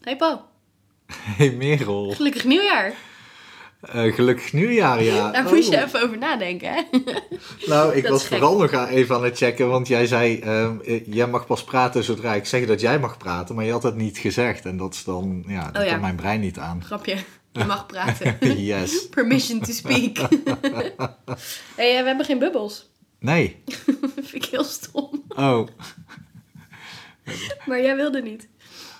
Hey Po, Hey Merel. gelukkig nieuwjaar. Eh, gelukkig nieuwjaar, ja. Daar Oh. moest je even over nadenken, hè? Nou, ik Nou, Dat was is gek. vooral nog a- even aan het checken, want jij zei, ehm, eh, jij mag pas praten zodra ik zeg dat jij mag praten, maar je had dat niet gezegd. En dat is dan, ja, dat Oh, ja. kan mijn brein niet aan. Grapje, je mag praten. yes. Permission to speak. hey, eh, we hebben geen bubbels. Nee. Dat vind ik heel stom. Oh. Maar jij wilde niet.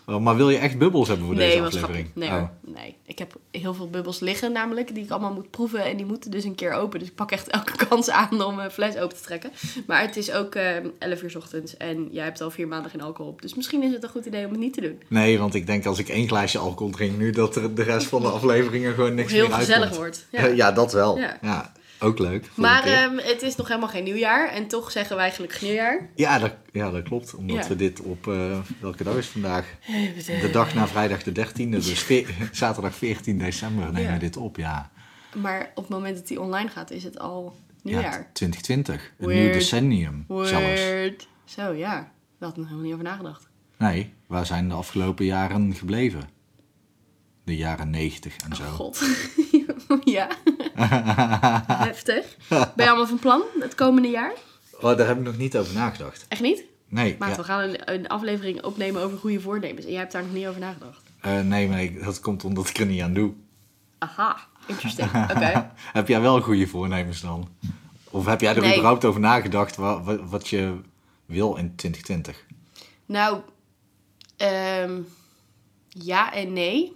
Oh, maar wil je echt bubbels hebben voor deze was aflevering? grappig. Nee, Oh. hoor. nee, ik heb heel veel bubbels liggen namelijk, die ik allemaal moet proeven. En die moeten dus een keer open. Dus ik pak echt elke kans aan om een fles open te trekken. Maar het is ook eh 11 uur 's ochtends en jij hebt al vier maanden geen alcohol op. Dus misschien is het een goed idee om het niet te doen. Nee, want ik denk als ik één glaasje alcohol drink nu, dat er de rest van de afleveringen gewoon niks Heel meer uitkomt. gezellig wordt. Ja. Ja, ja dat wel. Ja. Ja. Ook leuk. voor een Maar keer. ehm, het is nog helemaal geen nieuwjaar en toch zeggen wij eigenlijk nieuwjaar. ja, dat, ja, dat klopt. Omdat ja. we dit op, eh, welke dag is het vandaag? De dag na vrijdag de 13e, dus ve- zaterdag 14 december nemen Ja. we dit op, ja. Maar op het moment dat die online gaat is het al Ja, nieuwjaar. 2020. Een Weird. nieuw decennium zelfs. Weird. Zo ja, daar had ik nog helemaal niet over nagedacht. Nee, waar zijn de afgelopen jaren gebleven? De jaren 90 en zo. Oh, God. ja. Heftig. Ben je allemaal van plan het komende jaar? Oh, daar heb ik nog niet over nagedacht. Echt niet? Nee, Maar ja, we gaan een, een aflevering opnemen over goede voornemens. En jij hebt daar nog niet over nagedacht. eh, nee, maar ik- dat komt omdat ik er niet aan doe. Aha. Interesting. Oké. heb jij wel goede voornemens dan? Of heb jij er Nee. überhaupt over nagedacht wa- wa- wat je wil in 2020? Nou, ehm, ja en nee.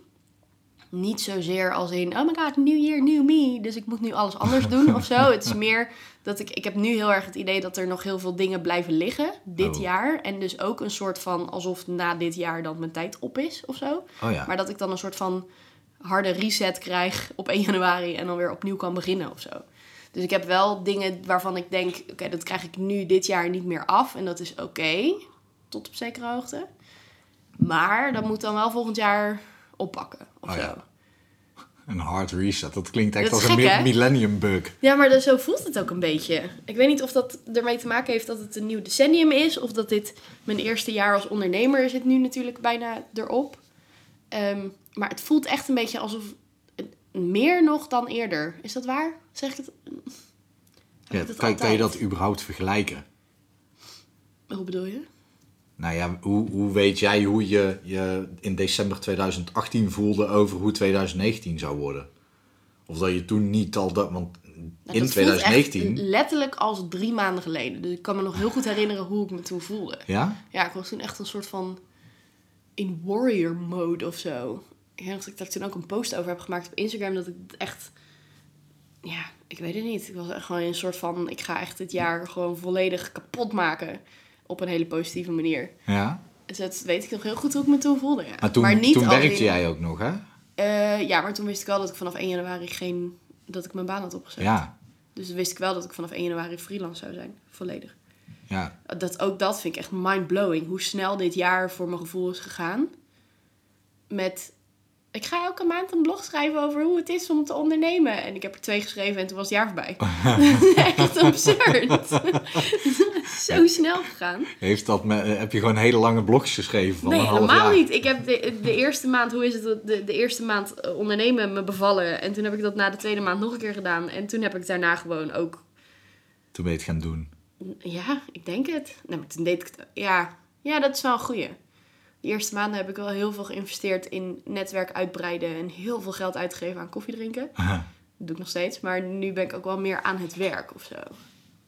Niet zozeer als in, oh my god, new year, new me. Dus ik moet nu alles anders doen of zo. Het is meer dat ik, ik heb nu heel erg het idee dat er nog heel veel dingen blijven liggen dit Oh. jaar. En dus ook een soort van alsof na dit jaar dan mijn tijd op is of zo. Oh ja. Maar dat ik dan een soort van harde reset krijg op 1 januari en dan weer opnieuw kan beginnen of zo. Dus ik heb wel dingen waarvan ik denk, oké, dat krijg ik nu dit jaar niet meer af. En dat is oké, tot op zekere hoogte. Maar dat moet dan wel volgend jaar oppakken of Oh zo. ja. Een hard reset, dat klinkt echt Dat is als een gek, mi- hè? millennium bug. Ja, maar dus zo voelt het ook een beetje. Ik weet niet of dat ermee te maken heeft dat het een nieuw decennium is. Of dat dit mijn eerste jaar als ondernemer zit nu natuurlijk bijna erop. Ehm, maar het voelt echt een beetje alsof... Meer nog dan eerder. Is dat waar? Zeg ik het? Ja, ik dat kijk, kan je altijd? dat überhaupt vergelijken? Hoe bedoel je? Nou ja, hoe, hoe weet jij hoe je je in december 2018 voelde over hoe 2019 zou worden? Of dat je toen niet al dat, want Nou, in dat voelt echt 2019, letterlijk als drie maanden geleden. Dus ik kan me nog heel goed herinneren hoe ik me toen voelde. ja? Ja, ik was toen echt een soort van in warrior mode of zo. Ik weet nog dat ik daar toen ook een post over heb gemaakt op Instagram. Dat ik het echt... Ja, ik weet het niet. Ik was echt gewoon in een soort van... Ik ga echt dit jaar gewoon volledig kapot maken. Op een hele positieve manier. Ja, Dus dat weet ik nog heel goed hoe ik me toen voelde. Ja. maar toen, toen als werkte in- jij ook nog, hè? Eh, ja, maar toen wist ik wel dat ik vanaf 1 januari geen... Dat ik mijn baan had opgezet. Ja, Dus dan wist ik wel dat ik vanaf 1 januari freelance zou zijn. Volledig. ja. Dat, ook dat vind ik echt mind-blowing. Hoe snel dit jaar voor mijn gevoel is gegaan. Met, ik ga elke maand een blog schrijven over hoe het is om te ondernemen. En ik heb er twee geschreven en toen was het jaar voorbij. echt absurd. Zo snel gegaan. Heeft dat me, heb je gewoon hele lange blogs geschreven van Nee, een half helemaal jaar? niet. Ik heb de, de eerste maand, hoe is het, dat de, de eerste maand eh, ondernemen me bevallen. En toen heb ik dat na de tweede maand nog een keer gedaan. En toen heb ik daarna gewoon ook Toen ben je het gaan doen. Ja, ik denk het. Nou, maar toen deed ik het. Ja, ja dat is wel een goeie. De eerste maanden heb ik wel heel veel geïnvesteerd in netwerk uitbreiden en heel veel geld uitgegeven aan koffie drinken. Dat doe ik nog steeds, maar nu ben ik ook wel meer aan het werk of zo.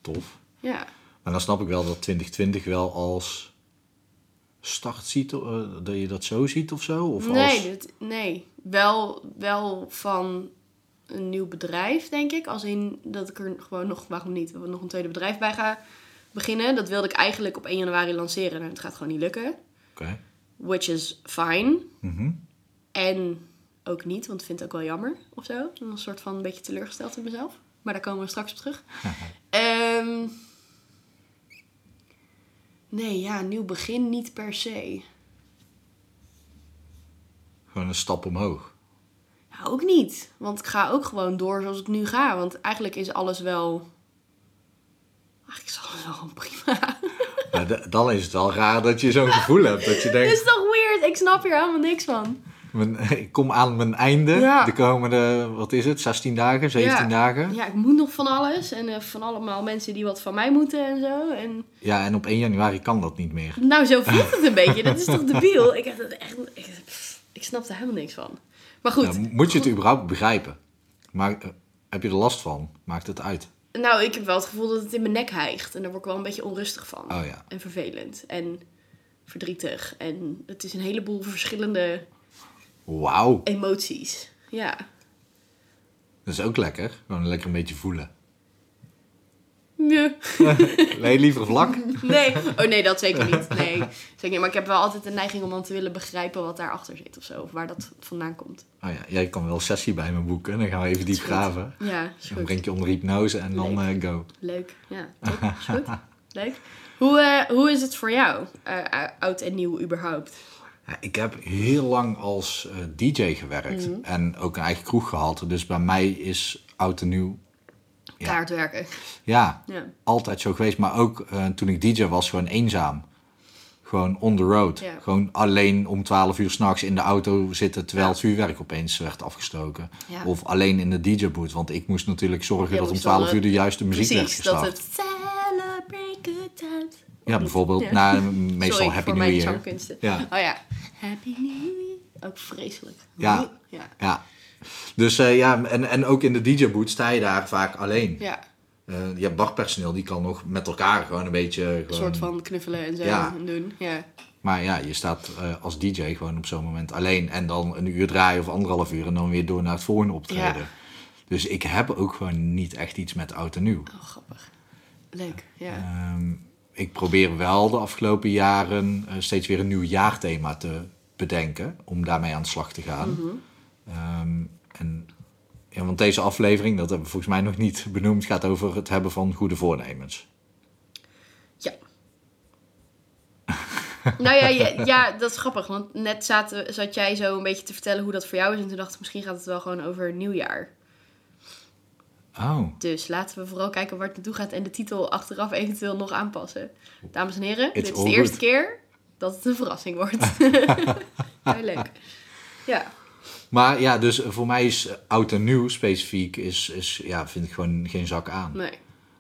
Tof. Ja. Maar dan snap ik wel dat 2020 wel als start ziet, eh, dat je dat zo ziet of zo? Of Nee, dus- als... dit- nee. Wel, wel van een nieuw bedrijf, denk ik. Als in dat ik er gewoon nog, waarom niet, nog een tweede bedrijf bij ga beginnen. Dat wilde ik eigenlijk op 1 januari lanceren en het gaat gewoon niet lukken. Oké. Which is fine. Mhm. En ook niet, want ik vind het ook wel jammer of zo. Ik ben Een soort van een beetje teleurgesteld in mezelf. Maar daar komen we straks op terug. Ehm, nee, ja, nieuw begin niet per se. Gewoon een stap omhoog. Ja, Nou, ook niet. Want ik ga ook gewoon door zoals ik nu ga. Want eigenlijk is alles wel... Eigenlijk is alles wel gewoon prima. Maar d- dan is het wel raar dat je zo'n gevoel hebt. Dat je Het denkt, is toch weird dit? Ik snap hier helemaal niks van. Mijn- ik kom aan mijn einde Ja. de komende, wat is het, 16 dagen, 17 dagen. Ja, ik moet nog van alles. En eh, van allemaal mensen die wat van mij moeten en zo. En Ja, en op 1 januari kan dat niet meer. nou, zo voelt het een beetje. Dat is toch debiel? Ik, heb dat echt, ik, ik snap er helemaal niks van. Maar goed. Ja, moet je het überhaupt begrijpen? Maar, eh, heb je er last van? Maakt het uit? Nou, ik heb wel het gevoel dat het in mijn nek hijgt. En daar word ik wel een beetje onrustig van. Oh ja. En vervelend. En verdrietig. En het is een heleboel verschillende Wauw, emoties. Ja. dat is ook lekker. Gewoon lekker een beetje voelen. Ja. Nee, liever vlak. Nee. Oh nee, dat zeker niet. Nee. Zeker niet. Maar ik heb wel altijd de neiging om dan te willen begrijpen wat daarachter zit of zo. Of waar dat vandaan komt. Oh ja, jij kan wel een sessie bij me boeken. Dan gaan we even diep goed. graven. Ja, is Dan goed. breng je onder hypnose en dan Leuk. eh, go. Leuk. Ja, top. Is goed. Leuk. Hoe, eh, hoe is het voor jou? eh, oud en nieuw überhaupt? Ja, ik heb heel lang als eh, DJ gewerkt. Mhm. En ook een eigen kroeg gehad. Dus bij mij is oud en nieuw. Ja. Kaartwerken. Ja, Ja. altijd zo geweest. Maar ook eh, toen ik DJ was, gewoon eenzaam. Gewoon on the road. Ja. Gewoon alleen om 12 uur s'nachts in de auto zitten terwijl het vuurwerk opeens werd afgestoken. Ja. Of alleen in de DJ-boot. Want ik moest natuurlijk zorgen Jij dat om moest dan, 12 eh, uur de juiste muziek werd Precies, dat gestart. het celebrate good times. Ja, bijvoorbeeld. Ja. Nou, meestal Sorry Happy voor New mijn Year. zangkunsten. Ja. Oh ja. Happy New Year. Ook vreselijk. Ja. Ja. Ja. Dus eh, ja, en, en ook in de DJ-boot sta je daar vaak alleen. Ja, Eh, je hebt barpersoneel, die kan nog met elkaar gewoon een beetje... een gewoon- soort van knuffelen en zo Ehm, Ja. en doen. Ja. Maar ja, je staat eh, als DJ gewoon op zo'n moment alleen. En dan een uur draaien of anderhalf uur en dan weer door naar het volgende optreden. Ja. Dus ik heb ook gewoon niet echt iets met oud en nieuw. Oh, grappig. Leuk, ja. Ehm, ik probeer wel de afgelopen jaren eh, steeds weer een nieuw jaarthema te bedenken. Om daarmee aan de slag te gaan. Mhm. Ehm, en, ja, want deze aflevering, dat hebben we volgens mij nog niet benoemd, gaat over het hebben van goede voornemens. Ja. nou ja, ja, ja, dat is grappig. Want net zaten, zat jij zo een beetje te vertellen hoe dat voor jou is. En toen dacht ik, misschien gaat het wel gewoon over nieuwjaar. Oh, Dus laten we vooral kijken waar het naartoe gaat. En de titel achteraf eventueel nog aanpassen. Dames en heren, It's dit is all de eerste good. keer dat het een verrassing wordt. Heel leuk. Ja. Maar ja, dus voor mij is eh, oud en nieuw specifiek, is, is, ja, vind ik gewoon geen zak aan. Nee.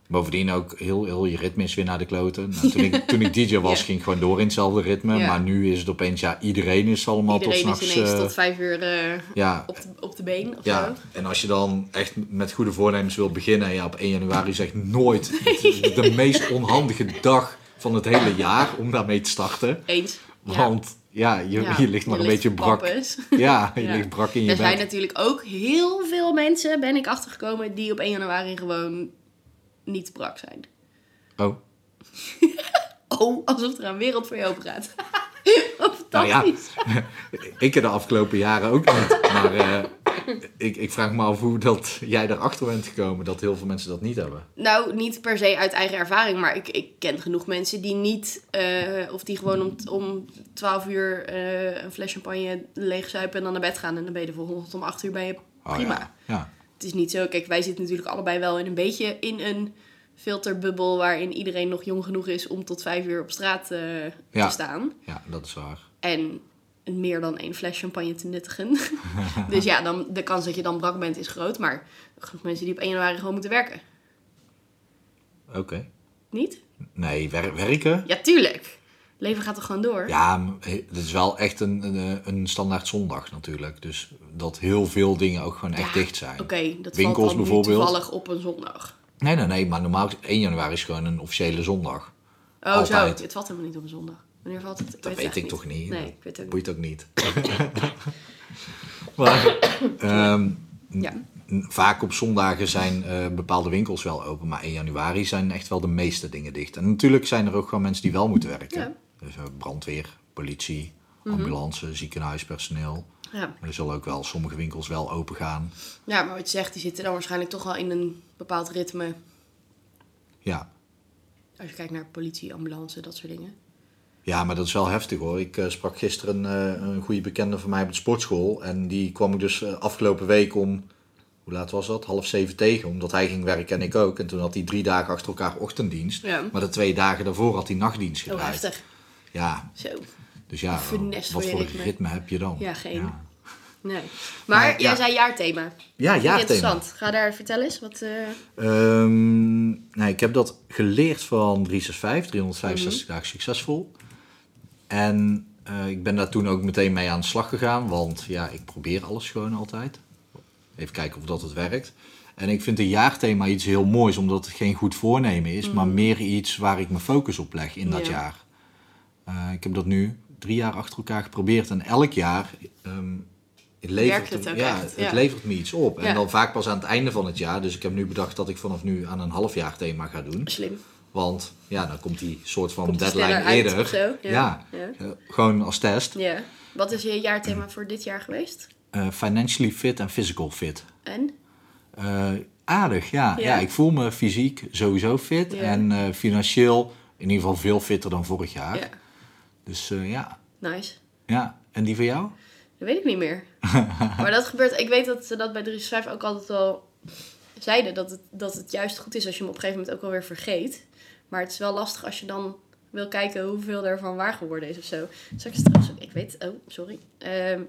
Bovendien ook heel, heel je ritme is weer naar de kloten. Nou, toen, ik, toen ik DJ was, Ja. ging ik gewoon door in hetzelfde ritme. Ja. Maar nu is het opeens, ja, iedereen is allemaal Iedereen tot is s'nachts... ineens eh, tot vijf uur eh, ja, op, de, op de been of ja, zo. en als je dan echt met goede voornemens wil beginnen, ja, op 1 januari is echt nooit de, de meest onhandige dag van het hele jaar om daarmee te starten. Eens. Ja. Want ja, je, Ja, je ligt maar een beetje brak. pappes. Ja, je Ja. ligt brak in je Er zijn bed. Dus natuurlijk ook heel veel mensen, ben ik achtergekomen, die op 1 januari gewoon niet brak zijn. Oh. Oh, alsof er een wereld voor je open gaat. Wat Nou ja. Fantastisch. Ik de afgelopen jaren ook niet. Maar eh, ik, ik vraag me af hoe dat jij erachter bent gekomen dat heel veel mensen dat niet hebben. Nou, niet per se uit eigen ervaring, maar ik, ik ken genoeg mensen die niet, eh, of die gewoon om, om 12 uur eh, een fles champagne leegzuipen en dan naar bed gaan. En dan ben je de volgende ochtend om 8 uur ben je Oh, prima. Ja. ja. Het is niet zo, kijk, wij zitten natuurlijk allebei wel in een beetje in een filterbubbel waarin iedereen nog jong genoeg is om tot 5 uur op straat eh, Ja. te staan. Ja, dat is waar. En meer dan één fles champagne te nuttigen. dus ja, dan, de kans dat je dan brak bent is groot. Maar genoeg mensen die op 1 januari gewoon moeten werken. Oké. Niet? Nee, wer- werken? Ja, tuurlijk. Leven gaat toch gewoon door? Ja, m- he- het is wel echt een, een, eh, een standaard zondag natuurlijk. Dus dat heel veel dingen ook gewoon echt Ja, dicht zijn. Oké, dat Winkels valt dan nu bijvoorbeeld. toevallig op een zondag. Nee, nee, nee. Maar normaal 1 januari is gewoon een officiële zondag. Oh Altijd. zo, het valt helemaal niet op een zondag. Wanneer valt het? Dat weet, het ik echt toch niet. Nee, Dat ik weet het ook niet. Boeit ook niet. maar ehm, Ja. n- vaak op zondagen zijn eh, bepaalde winkels wel open. Maar 1 januari zijn echt wel de meeste dingen dicht. En natuurlijk zijn er ook gewoon mensen die wel moeten werken. Ja. Mhm. Dus eh, brandweer, politie, ambulance, ziekenhuispersoneel. Ja. Er zullen ook wel sommige winkels wel open gaan. ja, maar wat je zegt, die zitten dan waarschijnlijk toch wel in een bepaald ritme. Ja. Als je kijkt naar politie, ambulance, dat soort dingen. Ja, maar dat is wel heftig hoor. Ik eh, sprak gisteren eh, een goede bekende van mij op de sportschool. En die kwam ik dus eh, afgelopen week om, hoe laat was dat? Half zeven tegen. Omdat hij ging werken en ik ook. En toen had hij drie dagen achter elkaar ochtenddienst. Ja. Oh, Maar de twee dagen daarvoor had hij nachtdienst Heel gedraaid. heftig. Ja, Zo. Dus ja, funest wat voor voor je ritme. ritme. heb je dan? Ja, geen. Ja, Nee. Maar, Maar, jij ja. zei jaarthema. ja jaarthema. Interessant. Ga daar vertellen eens. Wat, eh, Ehm, nou, ik heb dat geleerd van 365, 365 Mhm. dagen succesvol. En eh, ik ben daar toen ook meteen mee aan de slag gegaan, want ja, ik probeer alles gewoon altijd. Even kijken of dat het werkt. En ik vind een jaarthema iets heel moois, omdat het geen goed voornemen is, maar meer iets waar ik mijn focus op leg in dat Mhm. Ja. jaar. Eh, ik heb dat nu drie jaar achter elkaar geprobeerd en elk jaar ehm, het levert, Werkt het ook ja, echt, het ja. levert me iets op. Ja. En dan vaak pas aan het einde van het jaar. Dus ik heb nu bedacht dat ik vanaf nu aan een halfjaar thema ga doen. slim. Want ja, dan komt die soort van Komt het deadline sneller uit eerder. of zo? Ja. Ja. Ja. Eh, gewoon als test. Ja. Wat is je jaarthema voor dit jaar geweest? Eh, financially fit en physical fit. En? Eh, aardig, ja. Ja. ja. Ik voel me fysiek sowieso fit. Ja. En eh, financieel in ieder geval veel fitter dan vorig jaar. Ja. Dus eh, ja. Nice. ja. En die van jou? Dat weet ik niet meer. maar dat gebeurt. Ik weet dat ze dat bij 365 ook altijd wel zeiden. Dat het, dat het juist goed is als je hem op een gegeven moment ook alweer vergeet. Maar het is wel lastig als je dan wil kijken hoeveel daarvan waar geworden is of zo. Zal ik eens trouwens. Ik weet. Oh, sorry. Ehm,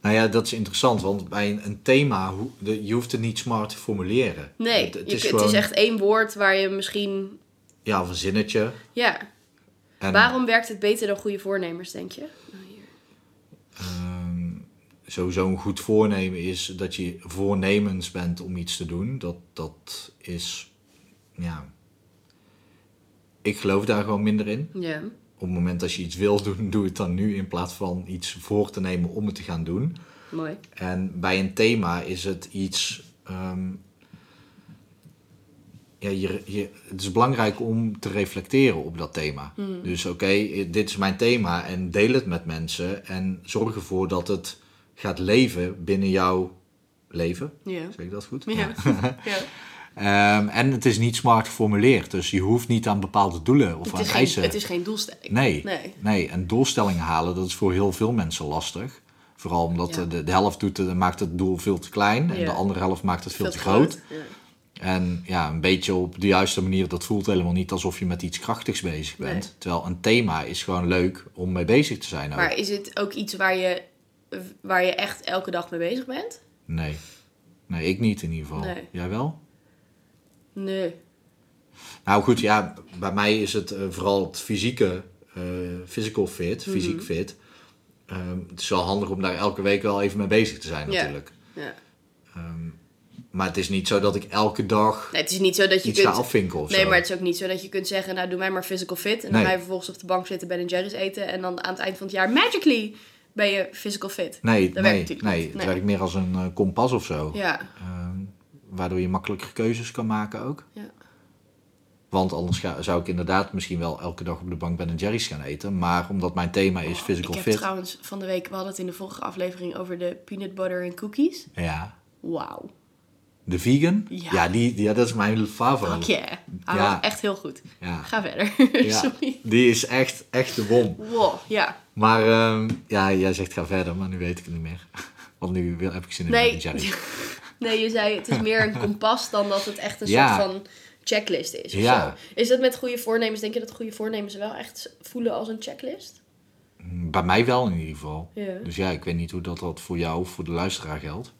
Nou ja, dat is interessant, want bij een, een thema, hoe- de- je hoeft het niet smart te formuleren. nee, het, je het kunt- is gewoon echt één woord waar je misschien. ja, of een zinnetje. Ja. En, Waarom werkt het beter dan goede voornemers, denk je? Oh, hier. ehm, sowieso een goed voornemen is dat je voornemens bent om iets te doen. Dat, dat is, ja... Ik geloof daar gewoon minder in. Ja. Op het moment dat je iets wil doen, doe het dan nu in plaats van iets voor te nemen om het te gaan doen. Mooi. En bij een thema is het iets. ehm, ja, je, je, het is belangrijk om te reflecteren op dat thema. Hmm. Dus oké, dit is mijn thema en deel het met mensen. En zorg ervoor dat het gaat leven binnen jouw leven. Ja. Zeg ik dat goed? Ja. ja. Ehm, en het is niet smart geformuleerd. Dus je hoeft niet aan bepaalde doelen of Het, aan is eisen. geen, het is geen doelstelling. Nee. Nee. en doelstellingen halen, dat is voor heel veel mensen lastig. Vooral omdat Ja. eh, de, de helft doet, het- maakt het doel veel te klein en Ja. de andere helft maakt het veel, te groot. Ja. En ja, een beetje op de juiste manier, dat voelt helemaal niet alsof je met iets krachtigs bezig bent. Nee. Terwijl een thema is gewoon leuk om mee bezig te zijn. Ook. Maar is het ook iets waar je, waar je echt elke dag mee bezig bent? Nee. Nee, ik niet in ieder geval. Nee. Jij wel? Nee. Nou goed, ja, bij mij is het eh, vooral het fysieke, eh, physical fit, fysiek Mhm. fit. Ehm, het is wel handig om daar elke week wel even mee bezig te zijn Ja. natuurlijk. Ja. Ehm, Maar het is niet zo dat ik elke dag Nee, het is niet zo dat je iets ga kunt... afvinken of Nee, zo. maar het is ook niet zo dat je kunt zeggen... nou, doe mij maar physical fit. En dan Nee. ga je vervolgens op de bank zitten Ben Jerry's eten... en dan aan het eind van het jaar, magically, ben je physical fit. nee, dat werkt nee, natuurlijk nee, niet. het Nee. werkt meer als een eh, kompas of zo. Ja, Ehm, waardoor je makkelijker keuzes kan maken ook. Ja. Want anders ga- zou ik inderdaad misschien wel elke dag op de bank Ben Jerry's gaan eten. Maar omdat mijn thema is Oh, ik physical heb fit. trouwens van de week... we hadden het in de vorige aflevering over de peanut butter en cookies. Ja. Wauw. De vegan? Ja. die, die- ja, dat is mijn Fuck favoriet. yeah. Hij Ja. was echt heel goed. Ja. Ga verder. Ja, Sorry. Die is echt, echt de won. Wow, ja. Maar ehm, ja, jij zegt ga verder, maar nu weet ik het niet meer. Want nu wil, heb ik zin in Ben Nee. Jerry's. Nee, je zei het is meer een kompas dan dat het echt een Ja. soort van checklist is. of Ja. zo. Is dat met goede voornemens? Denk je dat goede voornemens wel echt voelen als een checklist? Bij mij wel in ieder geval. Ja. Dus ja, ik weet niet hoe dat, dat voor jou of voor de luisteraar geldt.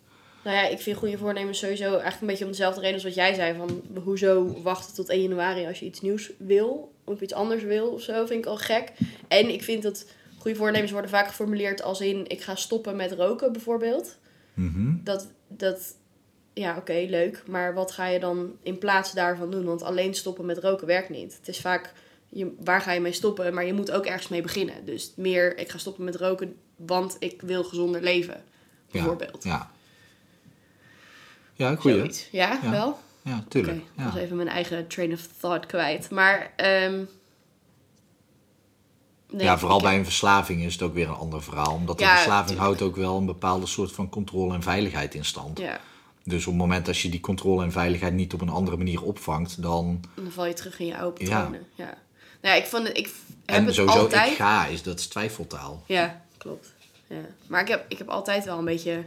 Nou ja, ik vind goede voornemens sowieso eigenlijk een beetje om dezelfde reden als wat jij zei. Van hoezo wachten tot 1 januari als je iets nieuws wil of iets anders wil of zo, vind ik al gek. En ik vind dat goede voornemens worden vaak geformuleerd als in ik ga stoppen met roken bijvoorbeeld. Mhm. dat, dat ja, oké, leuk. Maar wat ga je dan in plaats daarvan doen? Want alleen stoppen met roken werkt niet. Het is vaak, je, waar ga je mee stoppen? Maar je moet ook ergens mee beginnen. Dus meer, ik ga stoppen met roken, want ik wil gezonder leven. Bijvoorbeeld. Ja. Ja, goeie. Zoiets. Ja, Ja. wel? Ja, Oké, tuurlijk. ik was ja. even mijn eigen train of thought kwijt. Maar, ehm, nee, ja, vooral ik- bij een verslaving is het ook weer een ander verhaal. Omdat Ja, een verslaving tuurlijk. houdt ook wel een bepaalde soort van controle en veiligheid in stand. Ja, Dus op het moment dat je die controle en veiligheid niet op een andere manier opvangt, dan... en dan val je terug in je oude Ja. patronen. Ja. Nou ja, ik, vond het, ik heb en het sowieso altijd... ik ga, is, dat is twijfeltaal. Ja, klopt. Ja. Maar ik heb, ik heb altijd wel een beetje.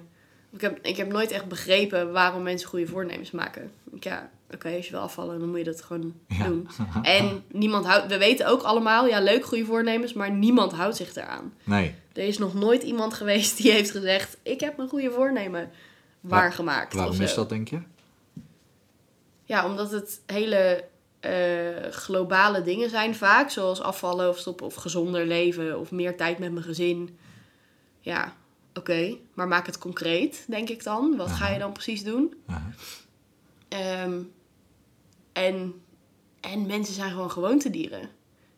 Ik heb, ik heb nooit echt begrepen waarom mensen goede voornemens maken. Ik, ja, oké, als je wil afvallen, dan moet je dat gewoon doen. En niemand houdt, we weten ook allemaal, ja, leuk goede voornemens, maar niemand houdt zich eraan. Nee. Er is nog nooit iemand geweest die heeft gezegd: Ik heb mijn goede voornemen waargemaakt. of Waarom zo. is dat, denk je? Ja, omdat het hele eh, globale dingen zijn vaak, zoals afvallen of stoppen of gezonder leven of meer tijd met mijn gezin. Ja, oké, maar maak het concreet, denk ik dan. Wat ga je dan precies doen? Aha. Ehm, en, en mensen zijn gewoon gewoontedieren,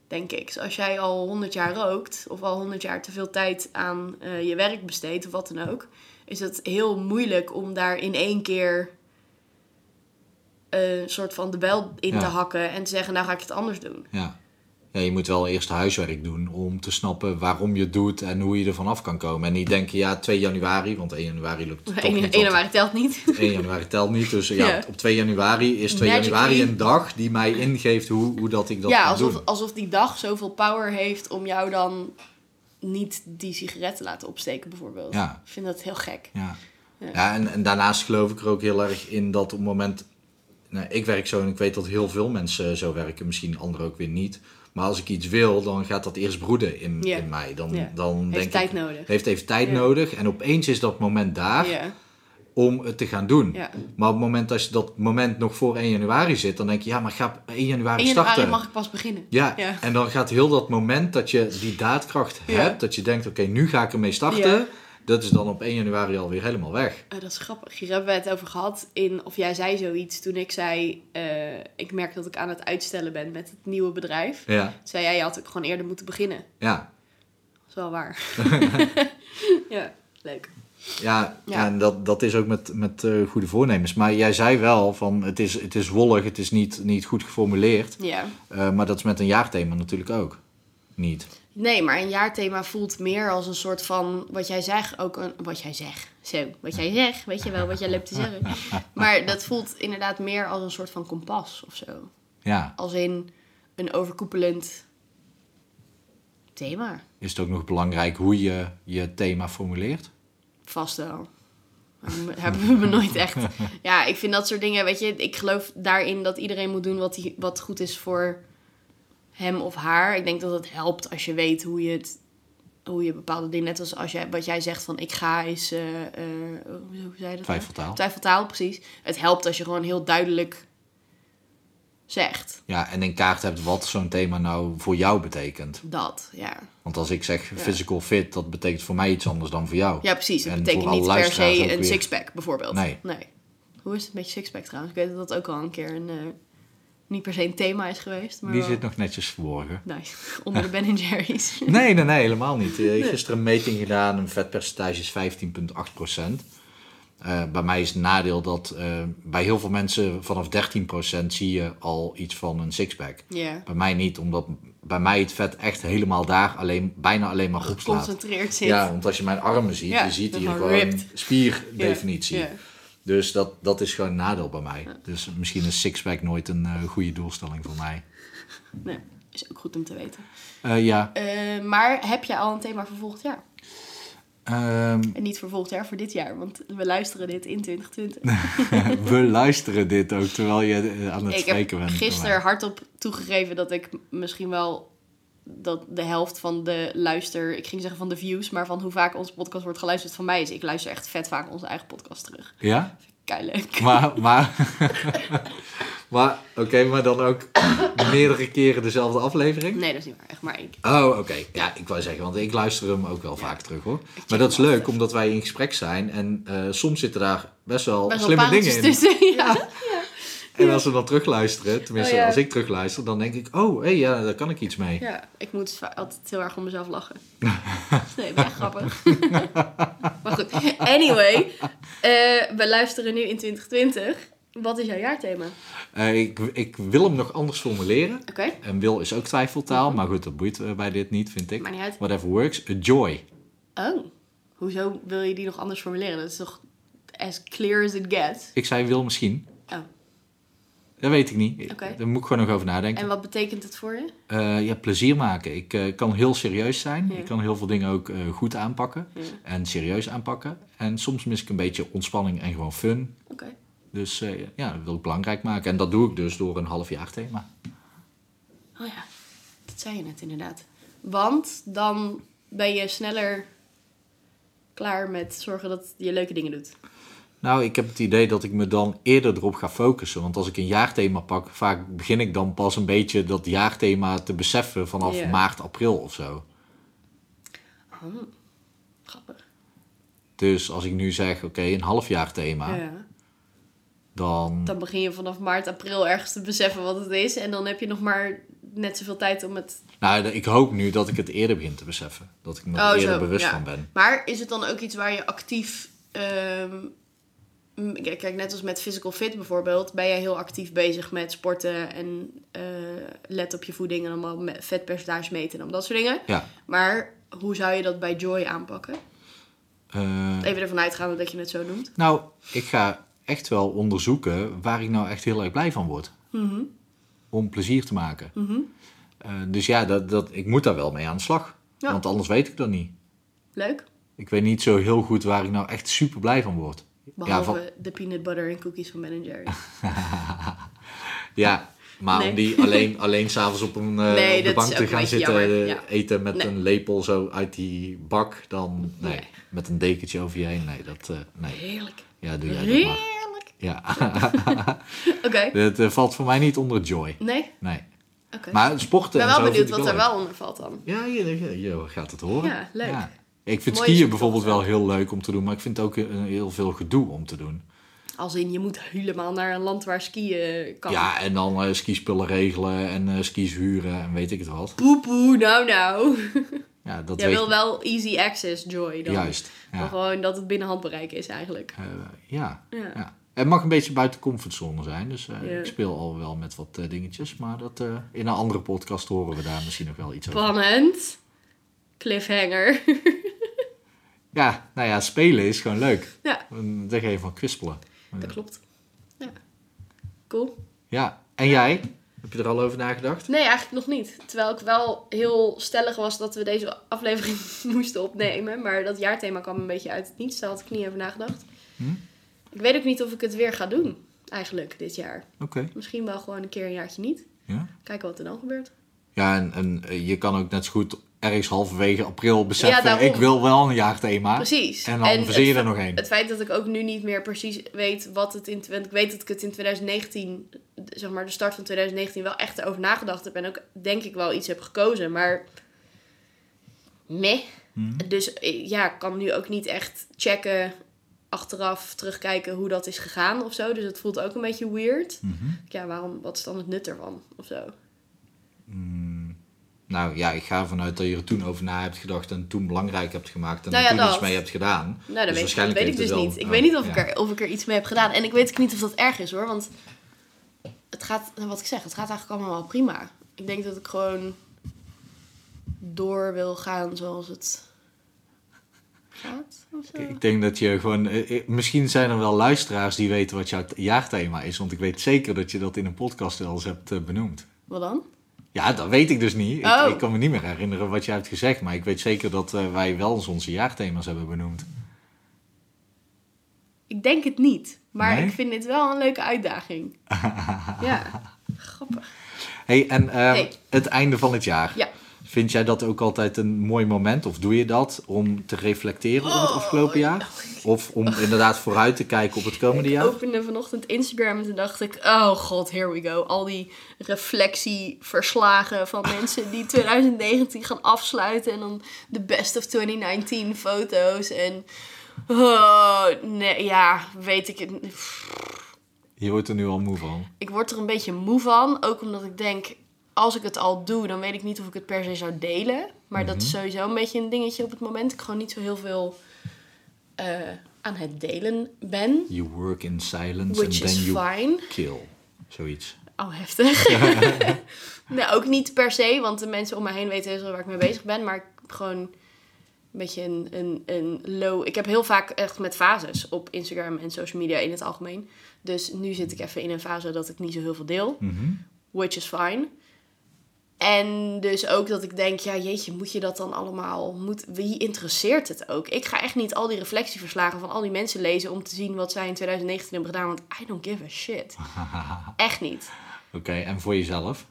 denk ik. Dus als jij al 100 jaar rookt of al 100 jaar te veel tijd aan eh, je werk besteedt of wat dan ook, is het heel moeilijk om daar in één keer eh, een soort van de bel in Ja. te hakken en te zeggen, nou ga ik het anders doen. Ja. ja. Je moet wel eerst huiswerk doen om te snappen waarom je het doet en hoe je ervan af kan komen. En niet denken, ja, 2 januari, want 1 januari lukt toch niet. 1 want januari telt niet. 1 januari telt niet, dus ja, Ja. op 2 januari is 2 Magically. januari een dag die mij ingeeft hoe, hoe dat ik dat ja, kan alsof, doen. alsof die dag zoveel power heeft om jou dan niet die sigaret te laten opsteken bijvoorbeeld. Ja. Ik vind dat heel gek. Ja. Ja. Ja, en, en daarnaast geloof ik er ook heel erg in dat op het moment... Nou, ik werk zo en ik weet dat heel veel mensen zo werken. Misschien anderen ook weer niet. Maar als ik iets wil, dan gaat dat eerst broeden in, Ja. in mij. Dan, Ja. dan Heeft denk tijd ik, nodig. Heeft even tijd Ja. nodig. En opeens is dat moment daar Ja, om het te gaan doen. ja. Maar op het moment dat je dat moment nog voor 1 januari zit... dan denk je, ja, maar ga op 1 januari 1 januari starten. mag ik pas beginnen. Ja, Ja. en dan gaat heel dat moment dat je die daadkracht Ja. hebt... dat je denkt, oké, nu ga ik ermee starten... Ja. dat is dan op 1 januari alweer helemaal weg. Eh, dat is grappig. Hier hebben we het over gehad. In, of jij zei zoiets toen ik zei... eh, ik merk dat ik aan het uitstellen ben met het nieuwe bedrijf. Ja, Toen zei jij, je had ook gewoon eerder moeten beginnen. ja. Dat is wel waar. ja, leuk. Ja, Ja. en dat, dat is ook met, met eh, goede voornemens. Maar jij zei wel van het is, het is wollig, het is niet, niet goed geformuleerd. Ja. Eh, maar dat is met een jaarthema natuurlijk ook niet. Nee, maar een jaarthema voelt meer als een soort van... Wat jij zegt, ook een... Wat jij zegt. Zo, wat jij zegt. Weet je wel, wat jij loopt te zeggen. Maar dat voelt inderdaad meer als een soort van kompas of zo. Ja, Als in een overkoepelend thema. is het ook nog belangrijk hoe je je thema formuleert? Mhm. Vast wel. Maar m- Hebben we me nooit echt. Ja, ik vind dat soort dingen. Weet je, ik geloof daarin dat iedereen moet doen wat, hij- wat goed is voor hem of haar. Ik denk dat het helpt als je weet hoe je het. Hoe je bepaalde dingen. Net als als jij, wat jij zegt van ik ga is. eh, eh, hoe hoe zei je dat? nou? Twijfeltaal. Twijfeltaal, precies. Het helpt als je gewoon heel duidelijk zegt Ja, en in kaart hebt wat zo'n thema nou voor jou betekent. dat. Ja, Want als ik zeg physical fit, dat betekent voor mij iets anders dan voor jou. ja precies. Dat En betekent voor alle niet per luisteraars ook se een weer. sixpack bijvoorbeeld. Nee. Hoe is het met je sixpack trouwens? Ik weet dat dat ook al een keer een. eh, niet per se een thema is geweest. Maar Die wel- zit nou- nog netjes verborgen. Nice. Onder de Ben Jerry's. Nee, nee, nee, helemaal niet. Eh, Gisteren een meting gedaan, een vetpercentage is 15,8 Eh, bij mij is het nadeel dat eh, bij heel veel mensen vanaf 13 zie je al iets van een sixpack. Ja. Bij mij niet, omdat bij mij het vet echt helemaal daar alleen, bijna alleen maar op slaat. Geconcentreerd zit. Ja, want als je mijn armen ziet, Ja, je ziet dat hier gewoon gewoon ripped. spierdefinitie. Ja. Dus dat, dat is gewoon een nadeel bij mij. Dus misschien is sixpack nooit een eh, goede doelstelling voor mij. Nee, is ook goed om te weten. Eh, ja, Eh, maar heb jij al een thema voor volgend jaar? ehm, En niet voor volgend jaar, voor dit jaar. Want we luisteren dit in 2020. We luisteren dit ook terwijl je eh, aan het ik heb spreken bent. gisteren hardop toegegeven dat ik misschien wel... Dat de helft van de luister... Ik ging zeggen van de views, maar van hoe vaak onze podcast wordt geluisterd van mij is. Ik luister echt vet vaak onze eigen podcast terug. Ja? Kei leuk. Maar, maar, maar oké, maar dan ook meerdere keren dezelfde aflevering? Nee, dat is niet waar. Echt maar één keer. Oh, oké. Ja, ik wou zeggen, want ik luister hem ook wel vaak terug hoor. Maar dat is leuk, omdat wij in gesprek zijn en eh, soms zitten daar best wel Best wel slimme dingen pareltjes in. tussen. Ja. En als we dan terugluisteren, tenminste Oh, ja. als ik terugluister, dan denk ik, oh hé, ja, daar kan ik iets mee. Ja, ik moet va- altijd heel erg om mezelf lachen. Nee, ben echt grappig. maar goed, anyway. eh, we luisteren nu in 2020. Wat is jouw jaarthema? Oké. Eh, ik, ik wil hem nog anders formuleren. En wil is ook twijfeltaal, maar goed, dat boeit eh, bij dit niet, vind ik. Maakt niet uit. Whatever works, a joy. Oh, hoezo wil je die nog anders formuleren? Dat is toch as clear as it gets? Ik zei wil misschien. Oh, Dat weet ik niet. Oké. Daar moet ik gewoon nog over nadenken. en wat betekent het voor je? Eh, ja, plezier maken. Ik eh, kan heel serieus zijn. Ja. Ik kan heel veel dingen ook eh, goed aanpakken. Ja. En serieus aanpakken. En soms mis ik een beetje ontspanning en gewoon fun. Oké. Dus eh, ja, dat wil ik belangrijk maken. En dat doe ik dus door een halfjaarthema. Oh ja, dat zei je net inderdaad. Want dan ben je sneller klaar met zorgen dat je leuke dingen doet. Nou, ik heb het idee dat ik me dan eerder erop ga focussen. Want als ik een jaarthema pak, vaak begin ik dan pas een beetje dat jaarthema te beseffen vanaf Ja. maart, april of zo. Oh, grappig. Dus als ik nu zeg, oké, een halfjaarthema, Ja. dan... Dan begin je vanaf maart, april ergens te beseffen wat het is. En dan heb je nog maar net zoveel tijd om het... Nou, ik hoop nu dat ik het eerder begin te beseffen. Dat ik me er Oh, eerder zo, bewust ja. van ben. Maar is het dan ook iets waar je actief... ehm, m- kijk, kijk, net als met physical fit bijvoorbeeld... ben jij heel actief bezig met sporten en eh, let op je voeding... en allemaal me- vetpercentage meten en al dat soort dingen. Ja. Maar hoe zou je dat bij Joy aanpakken? Hm. eh, Even ervan uitgaande dat je het zo noemt. nou, ik ga echt wel onderzoeken waar ik nou echt heel erg blij van word. Mhm. Om plezier te maken. Eh, dus ja, dat, dat, ik moet daar wel mee aan de slag. Ja. Want anders weet ik dat niet. Leuk. Ik weet niet zo heel goed waar ik nou echt super blij van word. Ja, Behalve van- de peanut butter en cookies van Ben Jerry. ja maar Nee. om die alleen, alleen s'avonds op een eh, Nee, dat op de is bank ook te een gaan beetje zitten jammer, eh, ja. eten met Nee. een lepel zo uit die bak, dan nee. Nee. Met een dekentje over je heen, nee, dat, eh, nee. Heerlijk. Ja, doe jij dat maar. Heerlijk. Ja, Oké. het eh, valt voor mij niet onder joy. Nee? Oké. Nee. Maar sporten Eh, ik ben en zo wel benieuwd wat vind ik daar leuk. wel onder valt dan. Ja, je, je, je gaat het horen. Ja, leuk. Ik vind Mooi is skiën het bijvoorbeeld toch, wel heel leuk om te doen, maar ik vind het ook eh, heel veel gedoe om te doen. Als in, je moet helemaal naar een land waar skiën kan. Ja, en dan eh, skispullen regelen en eh, skis huren en weet ik het wat. Poepoe, nou nou. Ja, dat Jij weet wil wel easy access Joy dan. Juist. Maar Ja. gewoon dat het binnen handbereik is eigenlijk. Eh, ja. Ja. ja. Het mag een beetje buiten comfortzone zijn. Dus eh, Ja. ik speel al wel met wat eh, dingetjes. Maar dat, eh, in een andere podcast horen we daar misschien nog wel iets over. Spannend. Cliffhanger. Ja, nou ja, spelen is gewoon leuk. ja, Daar ga je van kwispelen. dat klopt. Ja. Cool. Ja, en jij? Heb je er al over nagedacht? Nee, eigenlijk nog niet. Terwijl ik wel heel stellig was dat we deze aflevering moesten opnemen. Maar dat jaarthema kwam een beetje uit het niets. Daar had ik niet over nagedacht. Hm? Ik weet ook niet of ik het weer ga doen, eigenlijk, dit jaar. Oké. Misschien wel gewoon een keer een jaartje niet. Ja, Kijken wat er dan gebeurt. ja en, en eh, je kan ook net zo goed ergens halverwege april beseffen... daarom. ik wil wel een jaarthema. Precies. En dan verzin het je fe- er nog één. Het feit dat ik ook nu niet meer precies weet wat het in... Want ik weet dat ik het in 2019, zeg maar de start van 2019, wel echt over nagedacht heb. En ook denk ik wel iets heb gekozen. Maar meh. Dus eh, ja, ik kan nu ook niet echt checken, achteraf terugkijken hoe dat is gegaan of zo. Dus het voelt ook een beetje weird. Mhm. Ja, waarom, wat is dan het nut ervan of zo? Nou ja, ik ga ervan uit dat je er toen over na hebt gedacht... en toen belangrijk hebt gemaakt en Nou ja, er toen dat. iets mee hebt gedaan. Nou, dat Dus weet, dat waarschijnlijk weet ik dus heeft het wel- niet. Ik oh, weet niet of, ja. ik er, of ik er iets mee heb gedaan. En ik weet ook niet of dat erg is hoor. Want het gaat, nou, wat ik zeg, het gaat eigenlijk allemaal wel prima. Ik denk dat ik gewoon door wil gaan zoals het gaat. Of zo. Ik- Ik denk dat je gewoon... eh, eh, Misschien zijn er wel luisteraars die weten wat jouw jaarthema is. Want ik weet zeker dat je dat in een podcast wel eens hebt eh, benoemd. Wat dan? Ja, dat weet ik dus niet. Ik- Oh. Ik, kan me niet meer herinneren wat je hebt gezegd. Maar ik weet zeker dat eh, wij wel eens onze jaarthema's hebben benoemd. Ik denk het niet. Maar Nee? ik vind dit wel een leuke uitdaging. ja, grappig. hey, en eh, Hey. het einde van het jaar. Ja. Vind jij dat ook altijd een mooi moment? Of doe je dat om te reflecteren op Oh. het afgelopen jaar? Of om inderdaad vooruit te kijken op het komende Ik jaar? opende vanochtend Instagram en toen dacht ik, oh god, here we go. Al die reflectieverslagen van mensen die 2019 gaan afsluiten en dan de best of 2019 foto's en oh, nee, ja, weet ik het. niet. Je wordt er nu al moe van. Ik word er een beetje moe van, ook omdat ik denk, als ik het al doe, dan weet ik niet of ik het per se zou delen. Maar dat is sowieso een beetje een dingetje op het moment. Ik gewoon niet zo heel veel eh, aan het delen ben, You work in silence and which then is you fine. kill. Zoiets. Oh, heftig. nou, ook niet per se, want de mensen om me heen weten heus wel waar ik mee bezig ben. Maar ik heb gewoon een beetje een, een, een low... Ik heb heel vaak echt met fases op Instagram en social media in het algemeen. Dus nu zit ik even in een fase dat ik niet zo heel veel deel. Mhm. Which is fine. En dus ook dat ik denk, ja jeetje, moet je dat dan allemaal, moet, wie interesseert het ook? Ik ga echt niet al die reflectieverslagen van al die mensen lezen om te zien wat zij in 2019 hebben gedaan, want I don't give a shit. Echt niet. Oké, en voor jezelf?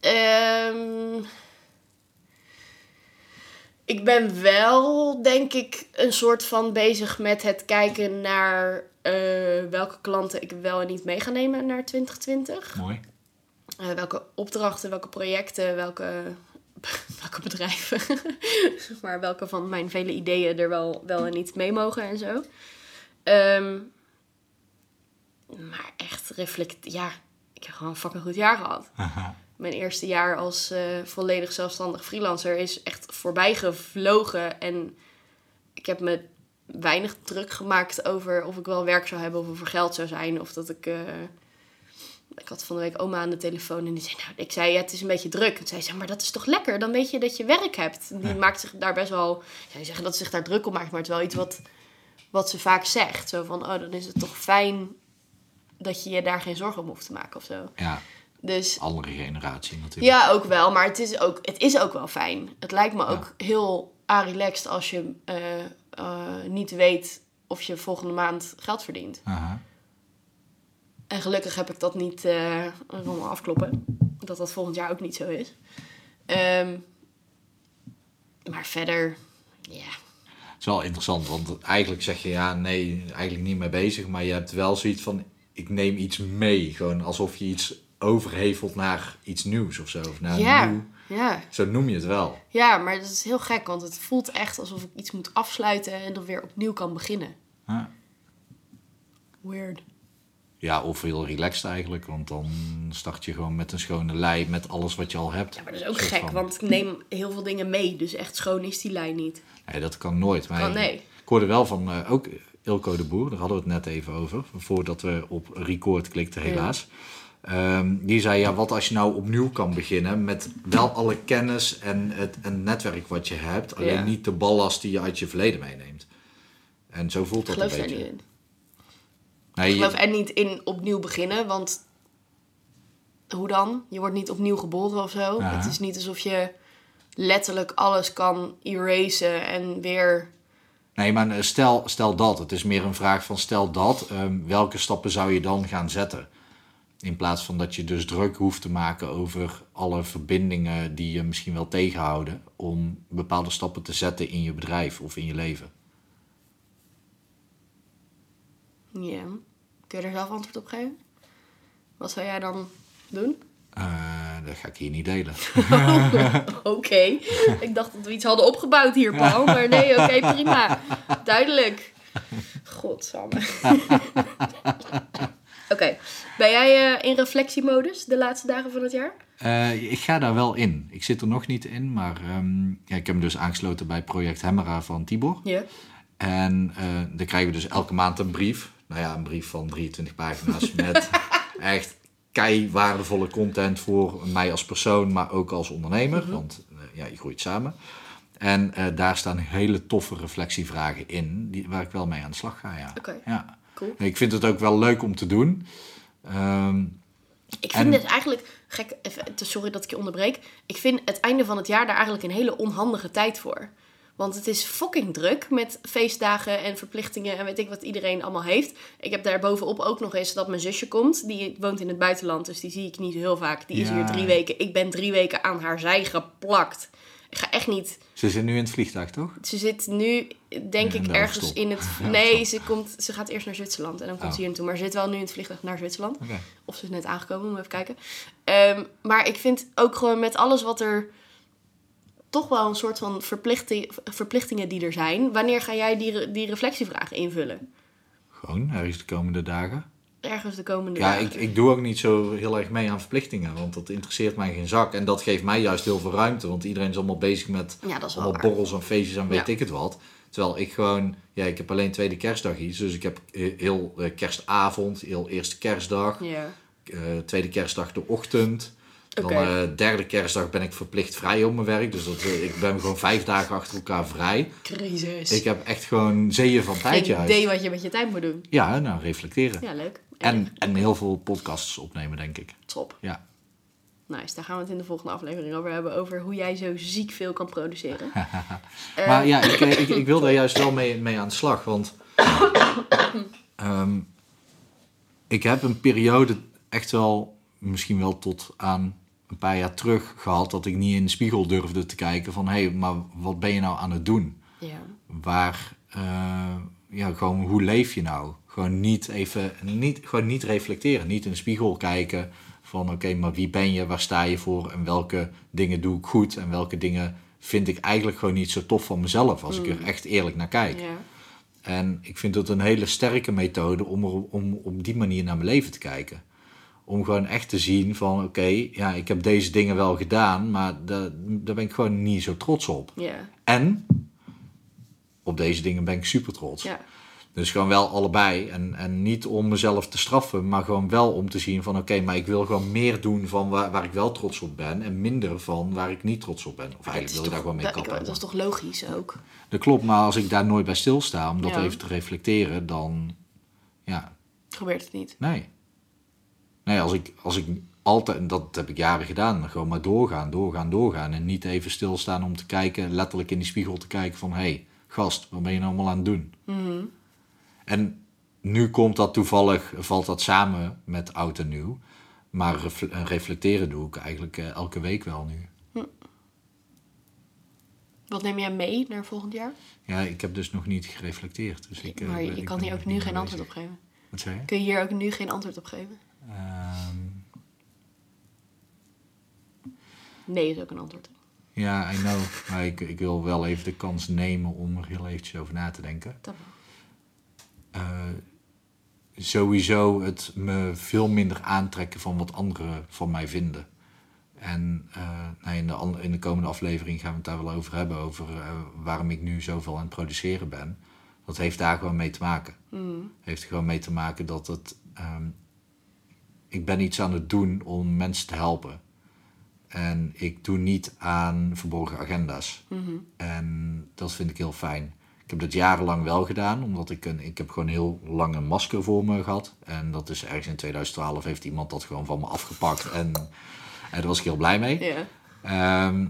Ehm, ik ben wel, denk ik, een soort van bezig met het kijken naar eh, welke klanten ik wel en niet mee ga nemen naar 2020. Mooi. Eh, welke opdrachten, welke projecten, welke, welke bedrijven. maar welke van mijn vele ideeën er wel, wel en niet mee mogen en zo. Ehm, maar echt reflect. Ja, ik heb gewoon een fucking goed jaar gehad. Mijn eerste jaar als eh, volledig zelfstandig freelancer is echt voorbij gevlogen. En ik heb me weinig druk gemaakt over of ik wel werk zou hebben of of er geld zou zijn. Of dat ik. eh, ik had van de week oma aan de telefoon en die zei, nou, ik zei, ja, het is een beetje druk. En zij zei, maar dat is toch lekker? Dan weet je dat je werk hebt. Die Ja. maakt zich daar best wel, zij zeggen dat ze zich daar druk om maakt, maar het is wel iets wat, wat ze vaak zegt. Zo van, oh, dan is het toch fijn dat je je daar geen zorgen om hoeft te maken of zo. Ja, Dus andere generatie natuurlijk. ja, ook wel. Maar het is ook, het is ook wel fijn. Het lijkt me ook heel relaxed als je eh, eh, niet weet of je volgende maand geld verdient. Aha. En gelukkig heb ik dat niet eh allemaal afkloppen. Dat dat volgend jaar ook niet zo is. Ehm, maar verder, ja. Het is wel interessant, want eigenlijk zeg je ja, nee, eigenlijk niet mee bezig. Maar je hebt wel zoiets van, ik neem iets mee. Gewoon alsof je iets overhevelt naar iets nieuws of zo. Of naar een ja, nieuw, ja. zo noem je het wel. Ja, maar dat is heel gek, want het voelt echt alsof ik iets moet afsluiten en dan weer opnieuw kan beginnen. Ja. Weird. Ja, of heel relaxed eigenlijk, want dan start je gewoon met een schone lei met alles wat je al hebt. Ja, maar dat is ook Soort gek, van. want ik neem heel veel dingen mee. Dus echt schoon is die lijn niet. Nee, dat kan nooit. Maar Kan, nee. Ik hoorde wel van eh, ook Ilko de Boer, daar hadden we het net even over, voordat we op record klikten helaas. Ehm, die zei, ja, wat als je nou opnieuw kan beginnen met wel alle kennis en het en netwerk wat je hebt, alleen Ja. niet de ballast die je uit je verleden meeneemt. En zo voelt Ik dat geloof een daar beetje. niet in. Nee, Ik geloof en niet in opnieuw beginnen, want hoe dan? Je wordt niet opnieuw geboren of zo. Ja. Het is niet alsof je letterlijk alles kan erasen en weer. nee, maar eh, stel, stel dat. Het is meer een vraag van stel dat. ehm, welke stappen zou je dan gaan zetten? In plaats van dat je dus druk hoeft te maken over alle verbindingen die je misschien wel tegenhouden. om bepaalde stappen te zetten in je bedrijf of in je leven. Ja. Kun je er zelf antwoord op geven? Wat zou jij dan doen? Eh, dat ga ik hier niet delen. Oké. Ik dacht dat we iets hadden opgebouwd hier, Paul. Maar nee, oké, prima. Duidelijk. Godsamme. oké. Ben jij eh, in reflectiemodus de laatste dagen van het jaar? Eh, ik ga daar wel in. Ik zit er nog niet in, maar ehm, ja, ik heb me dus aangesloten bij Project Hemmera van Tibor. Ja. En eh, dan krijgen we dus elke maand een brief. Nou ja, een brief van 23 pagina's met echt kei waardevolle content voor mij als persoon, maar ook als ondernemer. Want eh, ja, je groeit samen. En eh, daar staan hele toffe reflectievragen in, die, waar ik wel mee aan de slag ga. Ja. Oké. Ja. Cool. Nee, Ik vind het ook wel leuk om te doen. Ehm, Ik vind En- het eigenlijk, gek, even, sorry dat ik je onderbreek. Ik vind het einde van het jaar daar eigenlijk een hele onhandige tijd voor. Want het is fucking druk met feestdagen en verplichtingen en weet ik wat iedereen allemaal heeft. Ik heb daar bovenop ook nog eens dat mijn zusje komt. Die woont in het buitenland, dus die zie ik niet zo heel vaak. Die is Ja. hier drie weken. Ik ben drie weken aan haar zij geplakt. Ik ga echt niet ze zit nu in het vliegtuig, toch? ze zit nu, denk Ja, nou, in ik, de ergens hoofdstop. in het. Nee, ze, komt, ze gaat eerst naar Zwitserland en dan komt Oh. ze hier naartoe. Maar ze zit wel nu in het vliegtuig naar Zwitserland. Oké. Of ze is net aangekomen, moet even kijken. Ehm, maar ik vind ook gewoon met alles wat er. toch wel een soort van verplichting, verplichtingen die er zijn. Wanneer ga jij die, re- die reflectievraag invullen? Gewoon, ergens de komende dagen. Ergens de komende Ja, dagen. ik, ik doe ook niet zo heel erg mee aan verplichtingen, want dat interesseert mij geen zak. En dat geeft mij juist heel veel ruimte, want iedereen is allemaal bezig met Ja, dat is wel allemaal waar. borrels en feestjes en weet Ja. ik het wat. Terwijl ik gewoon, ja, ik heb alleen tweede kerstdag iets, dus ik heb eh, heel eh, kerstavond, heel eerste kerstdag, Ja. eh, tweede kerstdag de ochtend. Dan Oké. eh, derde kerstdag ben ik verplicht vrij op mijn werk, dus dat, eh, ik ben gewoon vijf dagen achter elkaar vrij. Crisis. Ik heb echt gewoon zeeën van tijd Geen idee juist. wat je met je tijd moet doen. Ja, nou reflecteren. Ja, leuk. En, en heel veel podcasts opnemen, denk ik. top. Ja. Nice, daar gaan we het in de volgende aflevering over hebben. Over hoe jij zo ziek veel kan produceren. Maar ja, ik, ik, ik wil daar juist wel mee, mee aan de slag. Want ehm, ik heb een periode echt wel, misschien wel tot aan een paar jaar terug gehad, dat ik niet in de spiegel durfde te kijken van hé, hey, maar wat ben je nou aan het doen? Ja. Waar, eh, ja, gewoon hoe leef je nou? Gewoon niet even, niet, gewoon niet reflecteren, niet in de spiegel kijken van oké, maar wie ben je, waar sta je voor en welke dingen doe ik goed en welke dingen vind ik eigenlijk gewoon niet zo tof van mezelf als ik er echt eerlijk naar kijk. ja. En ik vind dat een hele sterke methode om, er, om op die manier naar mijn leven te kijken. Om gewoon echt te zien van oké, ja, ik heb deze dingen wel gedaan, maar daar, daar ben ik gewoon niet zo trots op. Ja. En op deze dingen ben ik super trots. Ja. Dus gewoon wel allebei. En, en niet om mezelf te straffen, maar gewoon wel om te zien van oké, maar ik wil gewoon meer doen van waar, waar ik wel trots op ben en minder van waar ik niet trots op ben. Dat Of eigenlijk is wil toch- ik daar gewoon mee dat- ik- kappen. Dat is toch logisch ook? Dat klopt, maar als ik daar nooit bij stilsta om dat Ja. even te reflecteren, dan. Ja, Gebeurt het niet. nee. Nee, als ik, als ik altijd, en dat heb ik jaren gedaan, gewoon maar doorgaan, doorgaan, doorgaan. En niet even stilstaan om te kijken, letterlijk in die spiegel te kijken van: hé, hey, gast, wat ben je nou allemaal aan het doen? Mhm. En nu komt dat toevallig, valt dat samen met oud en nieuw. Maar ref- eh, reflecteren doe ik eigenlijk eh, elke week wel nu. Wat neem jij mee naar volgend jaar? Ja, ik heb dus nog niet gereflecteerd. Dus ik, eh, maar ben- je ik kan ben hier nog ook niet nu geen mee antwoord bezig. op geven. Wat zei je? Kun je hier ook nu geen antwoord op geven? Ehm, Nee is ook een antwoord. ja, I know. Maar ik, ik wil wel even de kans nemen om er heel eventjes over na te denken. Dat wel. Eh, sowieso het me veel minder aantrekken van wat anderen van mij vinden. En eh, nou, in, de, an- in de komende aflevering gaan we het daar wel over hebben. Over eh, waarom ik nu zoveel aan het produceren ben. Dat heeft daar gewoon mee te maken. Mm. Heeft er gewoon mee te maken dat het... ehm, ik ben iets aan het doen om mensen te helpen. En ik doe niet aan verborgen agenda's. Mhm. En dat vind ik heel fijn. Ik heb dat jarenlang wel gedaan, omdat ik een, ik heb gewoon heel lang een masker voor me gehad. En dat is ergens in 2012 heeft iemand dat gewoon van me afgepakt. En, en daar was ik heel blij mee. Ja. Ehm,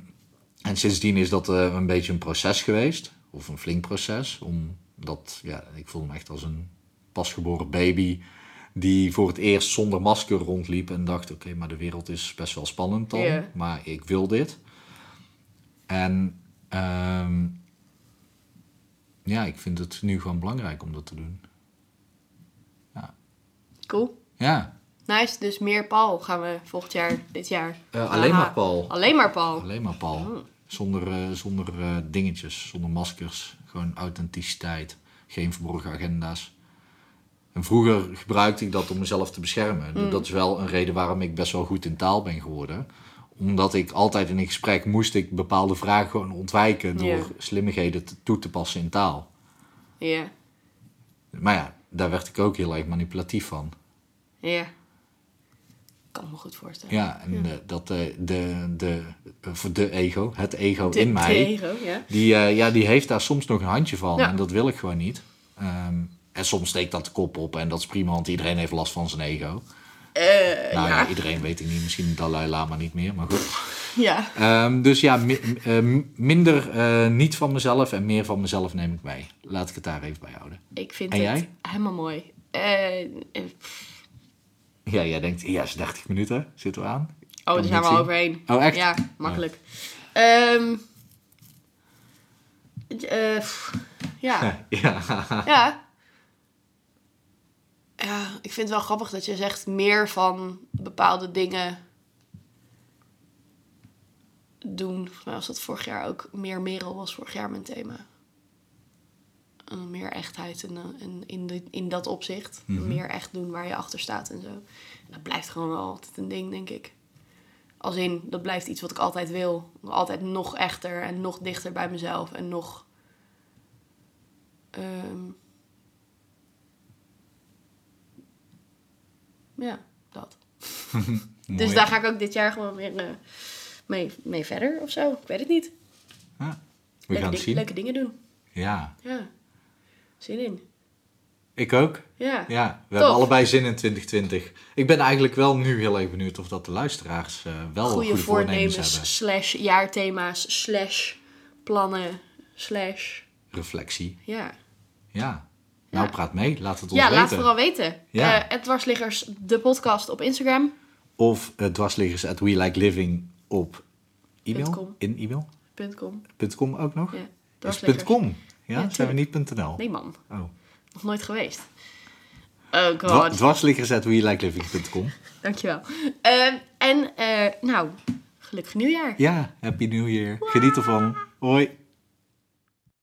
en sindsdien is dat eh, een beetje een proces geweest, of een flink proces, omdat ja, ik voel me echt als een pasgeboren baby die voor het eerst zonder masker rondliep en dacht: oké, maar de wereld is best wel spannend dan, Ja. maar ik wil dit. En ehm, ja, ik vind het nu gewoon belangrijk om dat te doen. Cool. Ja, Nice. Dus meer Paul gaan we volgend jaar, dit jaar. eh, alleen Aha. maar Paul. Alleen maar Paul. Alleen maar Oh. Paul. Zonder, eh, zonder eh, dingetjes, zonder maskers. Gewoon authenticiteit. Geen verborgen agenda's. En vroeger gebruikte ik dat om mezelf te beschermen. Mm. Dat is wel een reden waarom ik best wel goed in taal ben geworden. Omdat ik altijd in een gesprek moest ik bepaalde vragen gewoon ontwijken... door Ja. slimmigheden te- toe te passen in taal. Ja. Maar ja, daar werd ik ook heel erg manipulatief van. Ja. Kan me goed voorstellen. Ja, en eh, dat eh, de, de, eh, voor de ego, het ego De- in de mij... ego, oh, ja. Die, eh, ja, die heeft daar soms nog een handje van. Ja. En dat wil ik gewoon niet. Ehm, en soms steekt dat de kop op. En dat is prima, want iedereen heeft last van zijn ego. nou ja. Eh, ja. iedereen weet ik niet. Misschien Dalai Lama niet meer, maar goed. Ja. Ehm, dus ja, mi- m- eh, m- minder eh, niet van mezelf en meer van mezelf neem ik mee. Laat ik het daar even bij houden. Ik vind En het jij? helemaal mooi. Eh, eh, pff. Ja, jij denkt, ja, is 30 minuten. Zitten we aan? oh, het daar zijn we zien. al overheen. Oh, echt? Oh. Ja, makkelijk. Ehm eh, pff, ja. ja. ja. Ja, ik vind het wel grappig dat je zegt meer van bepaalde dingen doen. Volgens mij was dat vorig jaar ook meer Merel was vorig jaar mijn thema. En meer echtheid en, eh, en in, de, in dat opzicht. Meer echt doen waar je achter staat en zo. En dat blijft gewoon wel altijd een ding, denk ik. Als in, dat blijft iets wat ik altijd wil. Altijd nog echter en nog dichter bij mezelf. En nog... ehm, ja, dat. Dus Mooi. daar ga ik ook dit jaar gewoon weer eh, mee, mee verder of zo. Ik weet het niet. Ja. We leuke, gaan het ding- zien. leuke dingen doen. Ja. Ja. Zin in. Ik ook. Ja. Ja, we hebben Tof. allebei zin in 2020. Ik ben eigenlijk wel nu heel even benieuwd of dat de luisteraars eh, wel goede, Goede voornemens, hebben. voornemens, slash jaarthema's, slash plannen, slash... Reflectie. Ja. Ja. Nou, praat mee. Laat het ons Ja, weten. laat vooral weten. Ja. Ja. dwarsliggers, de podcast op Instagram. Of eh, dwarsliggers at we like living op e-mail. Punt com. In e-mail. Punt com. Punt .com ook nog? Ja, Dat is dwarsliggers. punt .com. Ja, Ja, zijn we niet punt .nl. Nee man, Oh. nog nooit geweest. Oh Dwa- god, Dwarsliggers at weLikeLiving.com. dankjewel. Ehm, en eh, nou, gelukkig nieuwjaar. Ja, happy new year. Geniet ervan. Hoi.